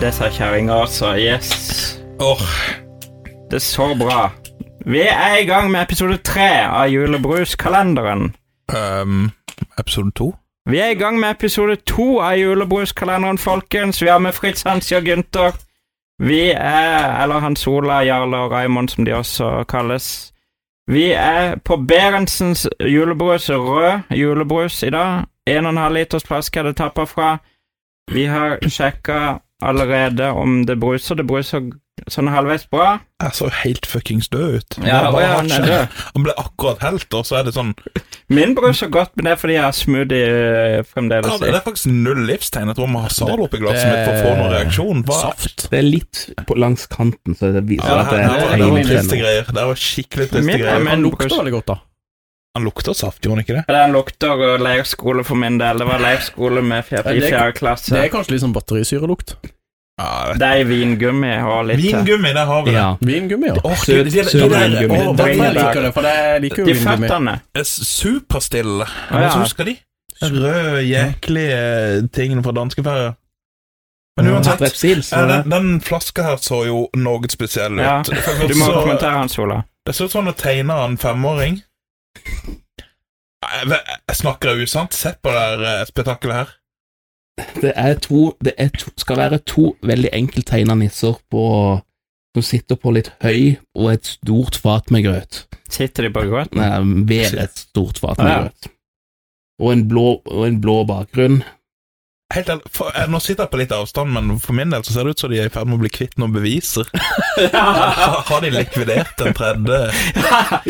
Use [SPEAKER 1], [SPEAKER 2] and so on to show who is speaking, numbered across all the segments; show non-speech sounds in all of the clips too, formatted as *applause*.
[SPEAKER 1] det sa kjerringa også. Yes.
[SPEAKER 2] Åh,
[SPEAKER 1] Det er så bra. Vi er i gang med episode tre av Julebruskalenderen.
[SPEAKER 2] ehm, episode to?
[SPEAKER 1] Vi er i gang med episode to av Julebruskalenderen, folkens. Vi har med Fritz Hansi og Gunther. Vi er Eller Hans Ola, Jarle og Raymond, som de også kalles. Vi er på Berentsens julebrus, rød julebrus, i dag. 1,5 liters flaske er det tappa fra. Vi har sjekka allerede om det bruser. Det bruser sånn halvveis bra.
[SPEAKER 2] Jeg så helt fuckings død ut.
[SPEAKER 1] Ja,
[SPEAKER 2] Jeg
[SPEAKER 1] og
[SPEAKER 2] bare
[SPEAKER 1] ja,
[SPEAKER 2] har
[SPEAKER 1] han
[SPEAKER 2] ikke-
[SPEAKER 1] er død.
[SPEAKER 2] Han ble akkurat helt, og så er det sånn
[SPEAKER 1] Min bruser godt, men det er fordi jeg har smoothie øh, fremdeles.
[SPEAKER 2] ja,
[SPEAKER 1] i.
[SPEAKER 2] Det er faktisk null livstegn. Jeg tror vi har Zalo oppi glasset mitt for å få noen reaksjon. Hva? Saft.
[SPEAKER 3] Det er litt på, langs kanten, så det viser
[SPEAKER 2] Ja,
[SPEAKER 3] at
[SPEAKER 2] her,
[SPEAKER 3] det
[SPEAKER 2] her,
[SPEAKER 3] er
[SPEAKER 2] var- det var
[SPEAKER 3] et
[SPEAKER 2] triste
[SPEAKER 3] tegn.
[SPEAKER 2] greier. Det var skikkelig
[SPEAKER 1] Min
[SPEAKER 2] triste
[SPEAKER 1] er med-
[SPEAKER 2] greier.
[SPEAKER 4] Han
[SPEAKER 1] Men
[SPEAKER 4] lukter
[SPEAKER 1] brus-
[SPEAKER 4] veldig godt, da.
[SPEAKER 2] Han lukter saft, gjorde han ikke det?
[SPEAKER 1] Ja, Den lukter og leirskole for min del. Det var leirskole med fjer
[SPEAKER 4] Ja,
[SPEAKER 1] i
[SPEAKER 4] det-
[SPEAKER 1] fjerde klasse.
[SPEAKER 4] Det er kanskje litt sånn batterisyrelukt.
[SPEAKER 2] Ja,
[SPEAKER 1] Det er i vingummi og litt eh,
[SPEAKER 2] Vingummi, der har vi det.
[SPEAKER 3] Ja.
[SPEAKER 4] Vingummi, ja.
[SPEAKER 2] Åh,
[SPEAKER 3] Søt-
[SPEAKER 2] Gud, de- de- de
[SPEAKER 3] søt
[SPEAKER 2] der-
[SPEAKER 3] vingummi.
[SPEAKER 2] åh, hva
[SPEAKER 4] Derfor jeg
[SPEAKER 2] er det?
[SPEAKER 4] liker det, for jeg liker jo
[SPEAKER 1] De
[SPEAKER 4] vingummi.
[SPEAKER 1] føttene.
[SPEAKER 2] Eh, Superstille.
[SPEAKER 1] Å,
[SPEAKER 2] Jeg
[SPEAKER 1] ja.
[SPEAKER 2] husker de. Rød, jæklige tingene fra danskeferier. Men uansett
[SPEAKER 3] Strepsil, så
[SPEAKER 2] Ja, den, den flaska her så jo noe spesiell ut.
[SPEAKER 1] Ja.
[SPEAKER 2] *laughs* For
[SPEAKER 1] Du må
[SPEAKER 2] så-
[SPEAKER 1] kommentere han, Sola.
[SPEAKER 2] Det ser ut som han tegner en femåring. Jeg, vet- jeg snakker jeg usant? Se på det her eh, spetakkelet her.
[SPEAKER 3] det er to Det er to, skal være to veldig enkelttegna nisser på som sitter på litt høy og et stort fat med grøt.
[SPEAKER 1] Sitter de på grøten?
[SPEAKER 3] Nei, ved et stort fat med
[SPEAKER 1] Ja.
[SPEAKER 3] grøt. Og en, blå, og en blå bakgrunn.
[SPEAKER 2] Helt ærlig, for, jeg, Nå sitter jeg på litt avstand, men for min del så ser det ut som de er i ferd med å bli kvitt noen
[SPEAKER 1] *laughs*
[SPEAKER 2] beviser. Har har de likvidert den tredje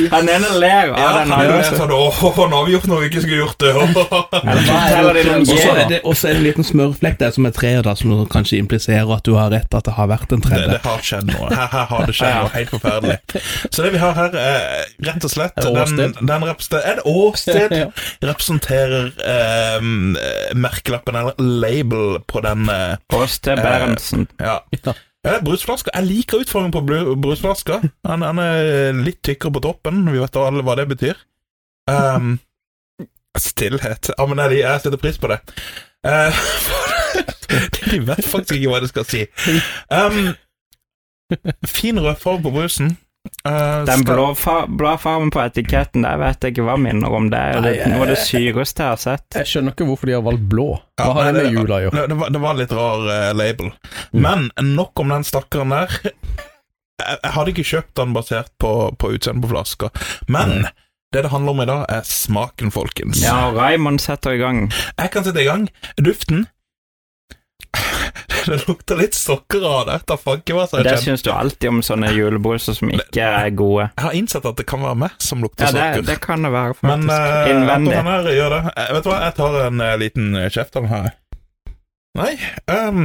[SPEAKER 1] Han ene ler av den
[SPEAKER 2] han er
[SPEAKER 1] andre.
[SPEAKER 2] sånn, Åh, nå har vi gjort noe vi ikke skulle gjort. det. *laughs*
[SPEAKER 1] Eller så forteller de noen
[SPEAKER 3] Og så er sånn.
[SPEAKER 1] gøy.
[SPEAKER 3] det også en liten smørflekk der som er treet, da, som kanskje impliserer at du har rett at det har vært en
[SPEAKER 2] Det,
[SPEAKER 3] tredje.
[SPEAKER 2] det har skjedd noe. Her, her har det
[SPEAKER 4] *laughs*
[SPEAKER 2] skjedd noe helt forferdelig. Så det vi har her, er rett og slett
[SPEAKER 4] Er det
[SPEAKER 2] den,
[SPEAKER 4] åsted?
[SPEAKER 2] den representer- Er det åsted?
[SPEAKER 4] *laughs* Ja.
[SPEAKER 2] Representerer ehm, eh, merkelappen eller label på den eh,
[SPEAKER 1] Åste Berntsen.
[SPEAKER 2] Ja.
[SPEAKER 4] Ja.
[SPEAKER 2] Ja, Brusflaska. Jeg liker utformingen på bru- brusflaska. Den, den er litt tykkere på toppen. Vi vet alle hva det betyr. Ehm, stillhet. Ja, men jeg, lik- jeg setter pris på det. Eh, *laughs* de vet faktisk ikke hva de skal si. Ehm, fin rødfarge på brusen. Eh,
[SPEAKER 1] Den
[SPEAKER 2] skal-
[SPEAKER 1] blå, fa blå fargen på etiketten der vet jeg ikke hva minner om. Det er jo det-
[SPEAKER 4] Nei, Eh.
[SPEAKER 1] noe av det syreste jeg har sett.
[SPEAKER 4] Jeg skjønner ikke hvorfor de har valgt blå.
[SPEAKER 2] Ja,
[SPEAKER 4] Hva har
[SPEAKER 2] nei,
[SPEAKER 4] det med jula å gjøre?
[SPEAKER 2] Det, det, var, det var litt rar eh, label. Men nok om den stakkaren der. Jeg, jeg hadde ikke kjøpt den basert på, på utseendet på flaska. Men det det handler om i dag, er smaken, folkens.
[SPEAKER 1] Ja, og Raymond setter i gang.
[SPEAKER 2] Jeg kan sette i gang. Duften Det lukter litt sokker av det. Ta fanken hva som er
[SPEAKER 1] Det
[SPEAKER 2] kjent.
[SPEAKER 1] syns du alltid om sånne julebruser som ikke er gode.
[SPEAKER 2] Jeg har innsett at det kan være meg som lukter
[SPEAKER 1] Ja,
[SPEAKER 2] sokker.
[SPEAKER 1] det, det kan det være,
[SPEAKER 2] Men
[SPEAKER 1] faktisk.
[SPEAKER 2] eh, jeg tror
[SPEAKER 1] Innvendig.
[SPEAKER 2] han her gjør det. Eh, vet du hva, jeg tar en eh, liten eh, kjeft av den her. Nei ehm,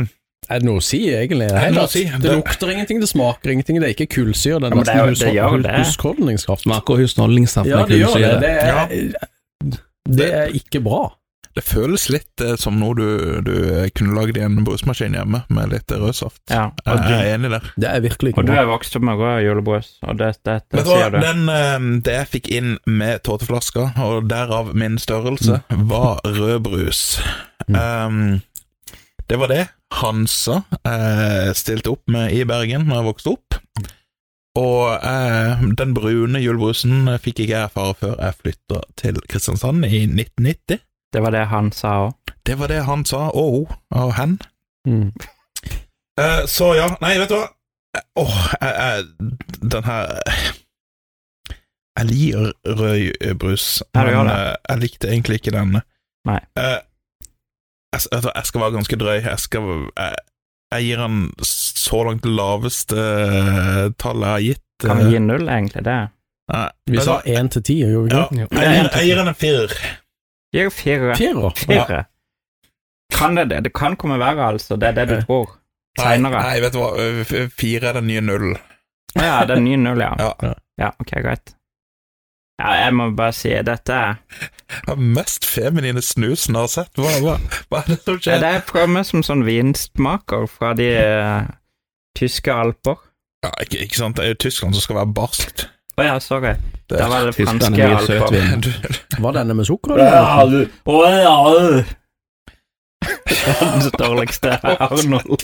[SPEAKER 4] Er det noe å si, egentlig? Det,
[SPEAKER 2] Er det noe
[SPEAKER 4] det,
[SPEAKER 2] å si?
[SPEAKER 4] det
[SPEAKER 2] Det-
[SPEAKER 4] lukter ingenting, det smaker ingenting, det er ikke kullsyre,
[SPEAKER 1] Ja,
[SPEAKER 4] det er
[SPEAKER 1] men det
[SPEAKER 4] nesten
[SPEAKER 1] er jo- det gjør
[SPEAKER 4] hushold-
[SPEAKER 1] det.
[SPEAKER 4] husholdningskraft.
[SPEAKER 3] Smaker husholdningssaft
[SPEAKER 4] Ja,
[SPEAKER 3] med
[SPEAKER 4] det gjør det.
[SPEAKER 3] kullsyre.
[SPEAKER 4] Det
[SPEAKER 1] Eh,
[SPEAKER 4] er, det er ikke bra.
[SPEAKER 2] Det føles litt eh, som noe du, du eh, kunne lagd i en brusmaskin hjemme, med litt eh, rødsaft.
[SPEAKER 1] Ja, og
[SPEAKER 2] Jeg
[SPEAKER 1] du
[SPEAKER 2] er enig der.
[SPEAKER 4] Det er virkelig ikke
[SPEAKER 1] Og du
[SPEAKER 4] bra.
[SPEAKER 1] er vokst opp med rød julebrus, og det, det, det
[SPEAKER 2] Vet du hva,
[SPEAKER 1] sier du.
[SPEAKER 2] den, eh, det jeg fikk inn med tåteflaska, og derav min størrelse,
[SPEAKER 1] Mm.
[SPEAKER 2] var rødbrus. Um, det var det Hansa eh, stilte opp med i Bergen når jeg vokste opp. Og eh, den brune julebrusen fikk ikke jeg erfare før jeg flytta til Kristiansand i 1990.
[SPEAKER 1] Det var det han sa òg.
[SPEAKER 2] Det var det han sa, og hun, og hen.
[SPEAKER 4] Mm.
[SPEAKER 2] Eh, så ja, nei, vet du hva Eh, Åh, jeg- jeg- den her Jeg liker rød eh, brus,
[SPEAKER 1] Ja,
[SPEAKER 2] men
[SPEAKER 1] du gjør
[SPEAKER 2] eh, jeg likte egentlig ikke denne.
[SPEAKER 1] Nei.
[SPEAKER 2] Eh, jeg, s- vet du hva, jeg skal være ganske drøy. Jeg, skal, jeg, jeg gir han så langt det laveste eh, tallet jeg har gitt.
[SPEAKER 1] Kan vi gi null, egentlig? Det
[SPEAKER 2] Nei,
[SPEAKER 4] Vi
[SPEAKER 2] vet du
[SPEAKER 4] sa
[SPEAKER 2] hva?
[SPEAKER 4] én til ti, gjorde vi
[SPEAKER 2] ja,
[SPEAKER 4] ikke?
[SPEAKER 2] jeg, gir- jeg gir han en firer.
[SPEAKER 1] gir fire.
[SPEAKER 4] Fjerde.
[SPEAKER 1] Fire. Kan det det? Det kan komme verre, altså. Det er det du tror.
[SPEAKER 2] Nei,
[SPEAKER 1] Seinere.
[SPEAKER 2] nei, vet du hva, eh, f- fire er den nye null.
[SPEAKER 1] Å ja, det er ny null, ja.
[SPEAKER 2] Ja.
[SPEAKER 1] Ja, ok, greit. Ja, jeg må bare si dette er
[SPEAKER 2] Den mest feminine snusen jeg har sett. Hva, hva, hva er det som
[SPEAKER 1] ja,
[SPEAKER 2] skjer?
[SPEAKER 1] Det er prømme som sånn vinsmaker fra de eh, tyske alper.
[SPEAKER 2] Ja, ikke, ikke sant? Det er jo Tyskland som skal være barskt.
[SPEAKER 1] Å ja, sorry.
[SPEAKER 2] Det-
[SPEAKER 1] Det
[SPEAKER 2] *laughs*
[SPEAKER 1] var det
[SPEAKER 3] Tyskland
[SPEAKER 1] franske
[SPEAKER 3] er mye
[SPEAKER 1] alper.
[SPEAKER 3] søtvin.
[SPEAKER 2] Du,
[SPEAKER 4] Var denne med sukker?
[SPEAKER 1] Ja,
[SPEAKER 4] eller?
[SPEAKER 1] *laughs* du- Å, ja, du. verdens dårligste Arnold.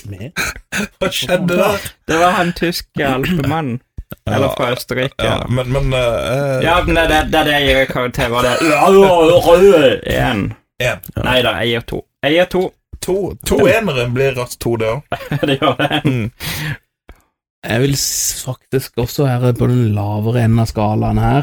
[SPEAKER 2] Hva skjedde der?
[SPEAKER 1] Det var han tyske alpemannen. Eller
[SPEAKER 2] Ja,
[SPEAKER 1] fra Østerrike.
[SPEAKER 2] ja,
[SPEAKER 1] eller-
[SPEAKER 2] men, men eh,
[SPEAKER 1] Ja, men det, det, det er det jeg gir karakter. Var det én?
[SPEAKER 2] En.
[SPEAKER 1] Nei da, jeg gir to. Jeg gir to. *laughs*
[SPEAKER 2] To, to enere blir raskt to, det òg.
[SPEAKER 1] Det gjør det.
[SPEAKER 3] Jeg vil s- faktisk også være på den lavere enden av skalaen her.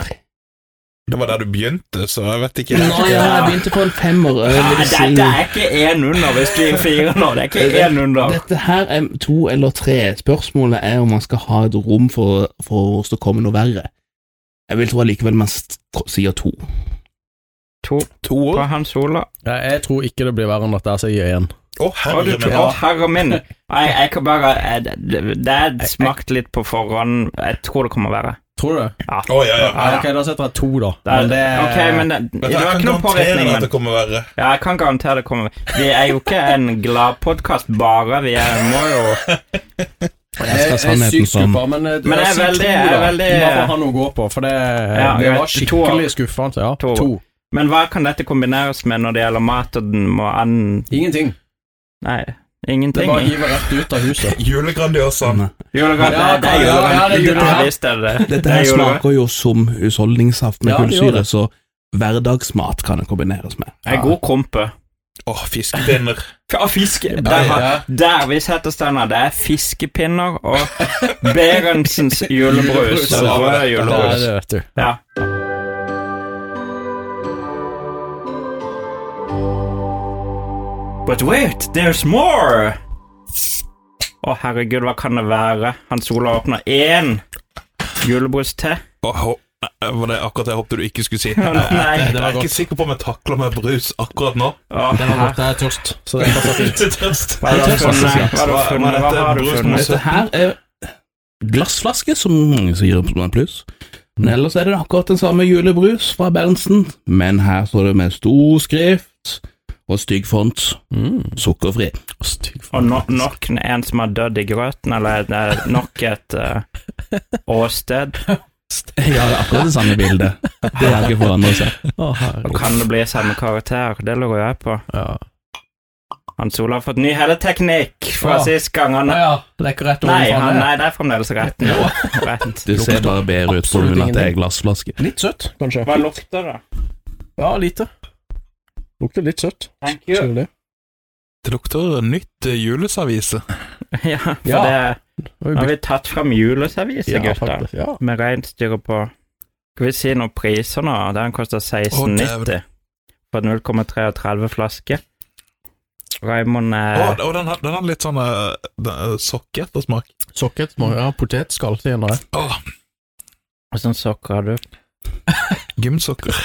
[SPEAKER 2] Det var der du begynte, så jeg vet ikke.
[SPEAKER 3] Nei, ja, jeg begynte på en femmer. jeg
[SPEAKER 1] Ja,
[SPEAKER 3] vil si.
[SPEAKER 1] dette er ikke én under hvis du gir fire nå. Det er ikke én under.
[SPEAKER 3] Dette her er to eller tre. Spørsmålet er om man skal ha et rom for, for oss til å komme noe verre. Jeg vil tro allikevel man st- sier to.
[SPEAKER 1] To på
[SPEAKER 2] To år?
[SPEAKER 1] Hans Ola.
[SPEAKER 4] Ja, jeg tror ikke det blir verre enn dette, så jeg gir én.
[SPEAKER 2] Å,
[SPEAKER 1] Å, du
[SPEAKER 2] herre min.
[SPEAKER 1] tror- å, herre min. Nei, jeg kan bare jeg- Det det er smakt litt på forhånd. Jeg tror det kommer verre.
[SPEAKER 4] Tror du det?
[SPEAKER 2] Å, ja, ja.
[SPEAKER 4] Ja, ok, da setter jeg to, da.
[SPEAKER 1] Det er,
[SPEAKER 4] Men det er-
[SPEAKER 1] ok, men det,
[SPEAKER 2] Men
[SPEAKER 1] det
[SPEAKER 2] jeg
[SPEAKER 1] var
[SPEAKER 2] kan
[SPEAKER 1] ikke noe
[SPEAKER 2] garantere
[SPEAKER 1] påvirkning.
[SPEAKER 2] at det
[SPEAKER 1] Men,
[SPEAKER 2] kommer verre.
[SPEAKER 1] ja, jeg kan garantere det kommer Vi er jo ikke en glad podkast bare. Vi er, må jo
[SPEAKER 3] Jeg skal ha
[SPEAKER 4] Jeg er
[SPEAKER 3] sannheten
[SPEAKER 4] sykt
[SPEAKER 3] fram.
[SPEAKER 4] skuffa, men, eh,
[SPEAKER 1] Men jeg er
[SPEAKER 4] si to,
[SPEAKER 1] veldig-
[SPEAKER 4] da.
[SPEAKER 1] jeg er veldig-
[SPEAKER 4] Bare for å ha noe å gå på, for det,
[SPEAKER 1] Ja,
[SPEAKER 4] det
[SPEAKER 1] greit.
[SPEAKER 4] var skikkelig skuffende. Ja,
[SPEAKER 1] To.
[SPEAKER 4] to.
[SPEAKER 1] Men hva kan dette kombineres med når det gjelder mat og den må an...
[SPEAKER 4] Ingenting.
[SPEAKER 1] Nei,
[SPEAKER 4] Det
[SPEAKER 1] ingenting.
[SPEAKER 4] bare hiver rett ut av *laughs* huset.
[SPEAKER 2] Julegrandiosaen.
[SPEAKER 1] Julegrøt,
[SPEAKER 4] Ja,
[SPEAKER 1] det er
[SPEAKER 4] ja, ja, det er
[SPEAKER 1] julegrøt.
[SPEAKER 4] julegrøt.
[SPEAKER 1] Ja, visst er det det.
[SPEAKER 3] eh, Dette
[SPEAKER 1] Det er
[SPEAKER 3] her
[SPEAKER 1] julegrøt.
[SPEAKER 3] smaker jo som husholdningssaft med
[SPEAKER 4] Ja, det gjør
[SPEAKER 3] kullsyre,
[SPEAKER 4] det.
[SPEAKER 3] så hverdagsmat kan det kombineres med.
[SPEAKER 1] Det er god krumpe.
[SPEAKER 2] Å, fiskepinner.
[SPEAKER 1] Ja, fiske.
[SPEAKER 4] Ja,
[SPEAKER 1] Der, har-
[SPEAKER 4] ja.
[SPEAKER 1] der vi setter standa, det er fiskepinner og Berentsens julebrus.
[SPEAKER 4] Julebrus, *laughs* ja.
[SPEAKER 1] Rød
[SPEAKER 4] Det
[SPEAKER 1] julebrus.
[SPEAKER 4] er det, vet du.
[SPEAKER 1] Ja. But wait, there's more! Å, herregud, hva kan det være? Hans Ola åpner én julebrus til.
[SPEAKER 2] Å, hå- nei, var det akkurat det jeg håpte du ikke
[SPEAKER 1] *laughs*
[SPEAKER 2] skulle si?
[SPEAKER 1] Å,
[SPEAKER 2] Jeg
[SPEAKER 1] Nei.
[SPEAKER 2] jeg er ikke sikker på om jeg takler med brus akkurat nå.
[SPEAKER 1] Å,
[SPEAKER 4] Den har
[SPEAKER 1] her-
[SPEAKER 4] gått, jeg er tørst. Så det passer fint.
[SPEAKER 2] Til trøst.
[SPEAKER 1] Hva har du funnet? Hva har du
[SPEAKER 2] Hva-
[SPEAKER 1] funnet?
[SPEAKER 2] hva
[SPEAKER 1] Hva
[SPEAKER 2] heter
[SPEAKER 1] har du
[SPEAKER 2] brus med
[SPEAKER 1] funnet?
[SPEAKER 3] Dette her er glassflaske, som mange sier på en pluss. Men ellers er det akkurat den samme julebrus fra Berntsen, men her står det med stor skrift og stygg font,
[SPEAKER 4] Mm.
[SPEAKER 3] sukkerfri.
[SPEAKER 4] Stygg
[SPEAKER 1] Og
[SPEAKER 4] faen.
[SPEAKER 1] no, nok en som har dødd i grøten, eller er det nok et eh, åsted?
[SPEAKER 3] *laughs* Ja, det er akkurat det samme bildet. Det har ikke forandret seg.
[SPEAKER 4] Å, herregud.
[SPEAKER 1] Og kan det bli samme karakter? Det lurer jeg på.
[SPEAKER 4] Ja.
[SPEAKER 1] Hans Ola har fått ny helleteknikk fra
[SPEAKER 4] Ja.
[SPEAKER 1] sist gang. Han,
[SPEAKER 4] Å ja, det er ikke rett
[SPEAKER 1] nei,
[SPEAKER 4] ovenfra
[SPEAKER 1] han,
[SPEAKER 4] det.
[SPEAKER 1] nei, det er fremdeles rett. nå.
[SPEAKER 4] *laughs*
[SPEAKER 1] rett.
[SPEAKER 3] Det ser bare bedre ut på grunn av at det er glassflaske.
[SPEAKER 4] Litt søtt, kanskje.
[SPEAKER 1] Hva lukter det?
[SPEAKER 4] Ja, lite. Lukter litt søtt.
[SPEAKER 1] Thank
[SPEAKER 4] Ser
[SPEAKER 1] you.
[SPEAKER 4] du det?
[SPEAKER 2] Det lukter nytt eh, julesavise.
[SPEAKER 1] *laughs* Ja, for
[SPEAKER 4] Ja.
[SPEAKER 1] det Nå har vi tatt fram juleservise,
[SPEAKER 4] Ja,
[SPEAKER 1] gutter.
[SPEAKER 4] faktisk. Ja.
[SPEAKER 1] Med reinsdyret på Skal vi si noen priser nå? Den koster
[SPEAKER 2] Å,
[SPEAKER 1] 16,90
[SPEAKER 2] dæven.
[SPEAKER 1] for 0,33 flaske. Raymond
[SPEAKER 2] Å,
[SPEAKER 1] eh,
[SPEAKER 2] og den har, den har litt sånn eh, den- eh, sokkeettersmak.
[SPEAKER 4] Sokket må ja, potetskall til en dag.
[SPEAKER 2] Å,
[SPEAKER 1] Åssen sokker har du?
[SPEAKER 2] gymsokker.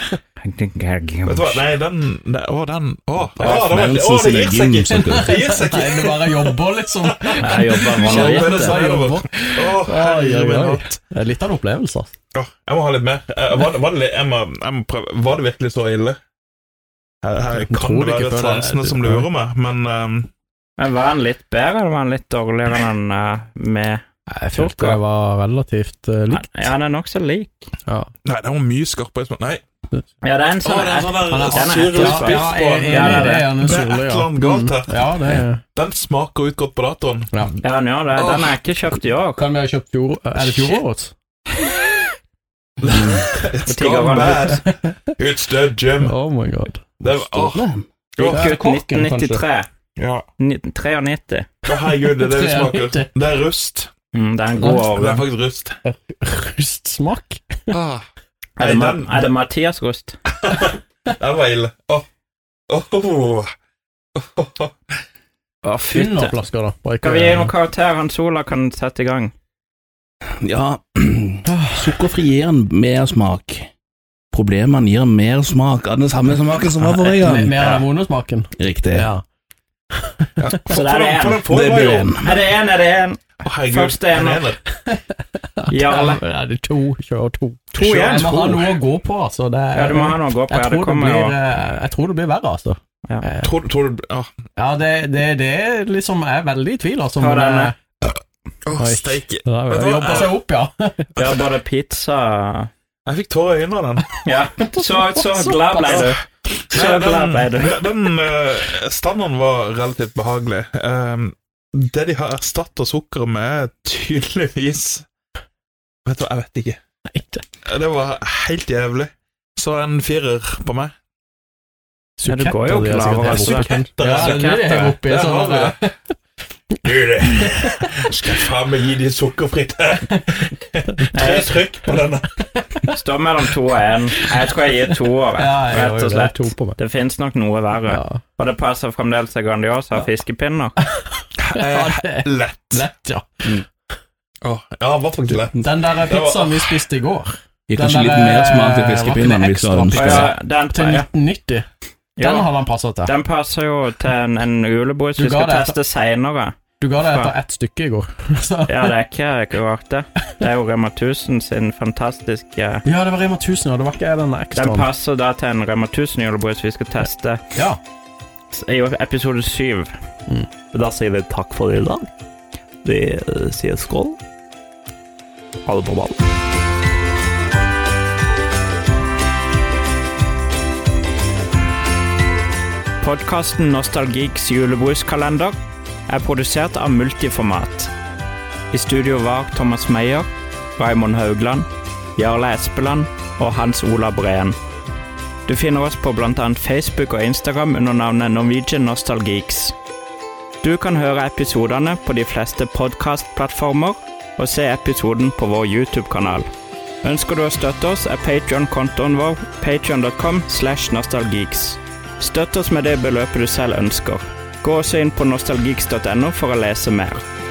[SPEAKER 2] Vet du hva,
[SPEAKER 1] Nei,
[SPEAKER 2] nei, den Å, den Å,
[SPEAKER 3] Det er
[SPEAKER 2] å, det var-
[SPEAKER 3] Fransen
[SPEAKER 2] å, det
[SPEAKER 3] sine
[SPEAKER 2] gir seg ikke!
[SPEAKER 3] gymsokker.
[SPEAKER 2] Det gir seg ikke!
[SPEAKER 4] det bare jobber, *laughs* liksom.
[SPEAKER 1] Jeg
[SPEAKER 2] *laughs*
[SPEAKER 1] jobber
[SPEAKER 2] Kjempe-
[SPEAKER 1] vanligvis.
[SPEAKER 2] det seg nedover. Å,
[SPEAKER 4] Oi,
[SPEAKER 2] herre
[SPEAKER 4] oi,
[SPEAKER 2] min
[SPEAKER 4] oi.
[SPEAKER 2] hatt.
[SPEAKER 4] Det er litt av en opplevelse. altså.
[SPEAKER 2] Åh, jeg må ha litt mer. Eh, Var, var, det, litt- jeg må, jeg må prøve. var det virkelig så ille? Her, her
[SPEAKER 4] Jeg
[SPEAKER 2] kan
[SPEAKER 4] tror
[SPEAKER 2] det
[SPEAKER 4] det ikke
[SPEAKER 2] være eh,
[SPEAKER 4] før det-
[SPEAKER 2] sansene som lurer meg, men ehm,
[SPEAKER 1] Men var den litt bedre, eller var den litt dårligere enn eh, med
[SPEAKER 4] Jeg
[SPEAKER 1] følte
[SPEAKER 4] følte
[SPEAKER 1] det
[SPEAKER 4] det var relativt eh, likt.
[SPEAKER 1] Ja, den er nokså lik.
[SPEAKER 4] Ja.
[SPEAKER 2] Nei, den var mye skarpere. i smak. Nei,
[SPEAKER 1] Ja, det er en
[SPEAKER 2] Åh, det er en
[SPEAKER 1] sånn
[SPEAKER 2] sånn der
[SPEAKER 1] Den er
[SPEAKER 2] surlig
[SPEAKER 1] etterspill.
[SPEAKER 2] spiss
[SPEAKER 1] Ja,
[SPEAKER 2] på den.
[SPEAKER 1] jeg- Ja, det er det.
[SPEAKER 4] gjerne
[SPEAKER 2] Det er
[SPEAKER 4] surlig,
[SPEAKER 2] et
[SPEAKER 4] ja.
[SPEAKER 2] eller annet galt her.
[SPEAKER 4] Mm. Ja, det er
[SPEAKER 2] Den smaker ut godt på
[SPEAKER 4] *laughs*
[SPEAKER 2] datoen.
[SPEAKER 4] ja.
[SPEAKER 1] Ja, den gjør det. Den er ikke kjøpt i år.
[SPEAKER 4] Kan vi ha kjøpt fjor... Er det fjorårets?
[SPEAKER 2] It's
[SPEAKER 1] tigger
[SPEAKER 2] gone
[SPEAKER 1] vann.
[SPEAKER 2] bad. It's the gym.
[SPEAKER 4] Oh my god.
[SPEAKER 2] Det var, åh,
[SPEAKER 1] Gikk
[SPEAKER 4] Ja,
[SPEAKER 1] ut
[SPEAKER 4] korken,
[SPEAKER 1] 1993.
[SPEAKER 2] ja.
[SPEAKER 1] Ni- 93.
[SPEAKER 2] Å, herregud, det er det det smaker. Det er rust.
[SPEAKER 1] Mm, det er en god
[SPEAKER 2] Det er
[SPEAKER 1] årgang.
[SPEAKER 2] faktisk rust.
[SPEAKER 4] Rustsmak?
[SPEAKER 2] Ah,
[SPEAKER 1] Er det,
[SPEAKER 2] Nei,
[SPEAKER 1] Ma-
[SPEAKER 2] den-
[SPEAKER 1] er det Mathias Rust?
[SPEAKER 2] den var ille. Åh. Åh. Åh.
[SPEAKER 1] Å,
[SPEAKER 4] Under
[SPEAKER 1] fytte.
[SPEAKER 4] flasker, da. Bare ikke-
[SPEAKER 1] Skal vi gi noen karakter han Sola kan sette i gang?
[SPEAKER 3] Ja, *clears throat* sukkerfri gir en mer smak. Problemene gir mer smak av den samme smaken som var forrige
[SPEAKER 4] Mer-
[SPEAKER 3] gang.
[SPEAKER 4] Mer av den vonde smaken?
[SPEAKER 3] Riktig.
[SPEAKER 4] Ja.
[SPEAKER 2] Ja.
[SPEAKER 1] Så der er en.
[SPEAKER 2] For den- for
[SPEAKER 3] Det
[SPEAKER 2] den
[SPEAKER 3] blir
[SPEAKER 2] var jo-
[SPEAKER 3] en.
[SPEAKER 1] Er det én, er det én?
[SPEAKER 2] Å, herregud,
[SPEAKER 1] Første en.
[SPEAKER 2] en ener.
[SPEAKER 1] Jarle.
[SPEAKER 4] Ja, det er to. Kjør to.
[SPEAKER 1] To igjen.
[SPEAKER 4] Jeg må ha noe å gå på, altså. Det er,
[SPEAKER 1] Ja, du må ha noe å gå på.
[SPEAKER 4] jeg,
[SPEAKER 1] Ja, det
[SPEAKER 4] tror det
[SPEAKER 1] kommer
[SPEAKER 4] blir,
[SPEAKER 1] jo
[SPEAKER 4] eh, jeg tror det blir verre, altså.
[SPEAKER 1] Ja.
[SPEAKER 4] Eh,
[SPEAKER 2] Tror du- tror du Åh.
[SPEAKER 4] Ja, det, det, det er liksom Jeg er veldig i tvil, altså.
[SPEAKER 1] Ta
[SPEAKER 4] men,
[SPEAKER 1] denne.
[SPEAKER 4] eh,
[SPEAKER 2] Åh,
[SPEAKER 4] Oi.
[SPEAKER 2] steike.
[SPEAKER 4] det er
[SPEAKER 2] Vet
[SPEAKER 4] vel-
[SPEAKER 2] du hva?
[SPEAKER 4] Jobber seg opp, ja.
[SPEAKER 1] Ja, både pizza
[SPEAKER 2] Jeg fikk tårer i øynene av den.
[SPEAKER 1] Ja. Så,
[SPEAKER 4] *laughs*
[SPEAKER 1] så glad ble du. Så
[SPEAKER 2] Nei,
[SPEAKER 1] glad ble du.
[SPEAKER 2] den, den eh, standarden var relativt behagelig. Ehm, det de har erstatta sukkeret med, er tydeligvis Vet du hva, jeg vet ikke.
[SPEAKER 4] Nei, det
[SPEAKER 2] Det var helt jævlig. Så en firer på meg.
[SPEAKER 1] Ja, du går jo
[SPEAKER 4] Suketter, det er
[SPEAKER 1] klar over
[SPEAKER 4] sikkert
[SPEAKER 1] det.
[SPEAKER 4] helt oppe.
[SPEAKER 2] Suketter,
[SPEAKER 1] Ja, det er det jeg er
[SPEAKER 4] oppi, sånn
[SPEAKER 2] har
[SPEAKER 4] der.
[SPEAKER 2] jeg. Du, det. Skal faen meg gi de sukkerfritt her. Tre trykk på denne.
[SPEAKER 1] Står mellom to og én. Jeg tror jeg gir to over,
[SPEAKER 4] Ja, jeg gjør jo
[SPEAKER 1] rett og
[SPEAKER 4] det.
[SPEAKER 1] slett.
[SPEAKER 4] To på meg.
[SPEAKER 1] Det fins nok noe verre.
[SPEAKER 4] Ja.
[SPEAKER 1] Og det passer fremdeles til Grandiosa og fiskepinner.
[SPEAKER 4] ja, det
[SPEAKER 2] Eh,
[SPEAKER 4] er
[SPEAKER 2] Lett.
[SPEAKER 4] lett, ja.
[SPEAKER 2] Åh, ja, det var faktisk lett.
[SPEAKER 4] Den der pizzaen vi spiste i går,
[SPEAKER 3] Gir
[SPEAKER 4] Den
[SPEAKER 3] kanskje litt
[SPEAKER 4] der,
[SPEAKER 3] mer smak til
[SPEAKER 4] eh,
[SPEAKER 3] fiskepinnene
[SPEAKER 4] var ikke
[SPEAKER 3] hvis du
[SPEAKER 4] det
[SPEAKER 3] hadde
[SPEAKER 1] Og
[SPEAKER 3] den.
[SPEAKER 4] ekstra?
[SPEAKER 1] ja, den,
[SPEAKER 4] til
[SPEAKER 1] ja,
[SPEAKER 4] 1990, den
[SPEAKER 1] jo,
[SPEAKER 4] hadde han passet til.
[SPEAKER 1] den passer jo til en, en ulebrus
[SPEAKER 4] Du
[SPEAKER 1] vi
[SPEAKER 4] ga
[SPEAKER 1] skal
[SPEAKER 4] det etter-
[SPEAKER 1] teste seinere.
[SPEAKER 4] Du ga det etter ett stykke i går. *laughs* Så.
[SPEAKER 1] Ja, det er ikke ikke rart, det. Det er jo Rema 1000 sin fantastiske
[SPEAKER 4] Ja, det var Rema 1000, ja. Det var ikke den
[SPEAKER 1] Den
[SPEAKER 4] ekstraen.
[SPEAKER 1] passer da til en Rema 1000-julebrus vi skal teste
[SPEAKER 4] Ja.
[SPEAKER 1] i episode 7.
[SPEAKER 5] Da sier vi takk for i dag. Vi eh, sier skål. Ha det på ballen.
[SPEAKER 1] Podkasten Nostalgiks julebruskalender er produsert av Multiformat. I studio var Thomas Meyer, Raymond Haugland, Jarle Espeland og Hans Ola Breen. Du finner oss på bl.a. Facebook og Instagram under navnet Norwegian Nostalgeeks. Du kan høre episodene på de fleste podkastplattformer og se episoden på vår YouTube-kanal. Ønsker du å støtte oss, er Patreon-kontoen vår patreon.com slash nostalgeeks. Støtt oss med det beløpet du selv ønsker. Gå også inn på nostalgeeks.no for å lese mer.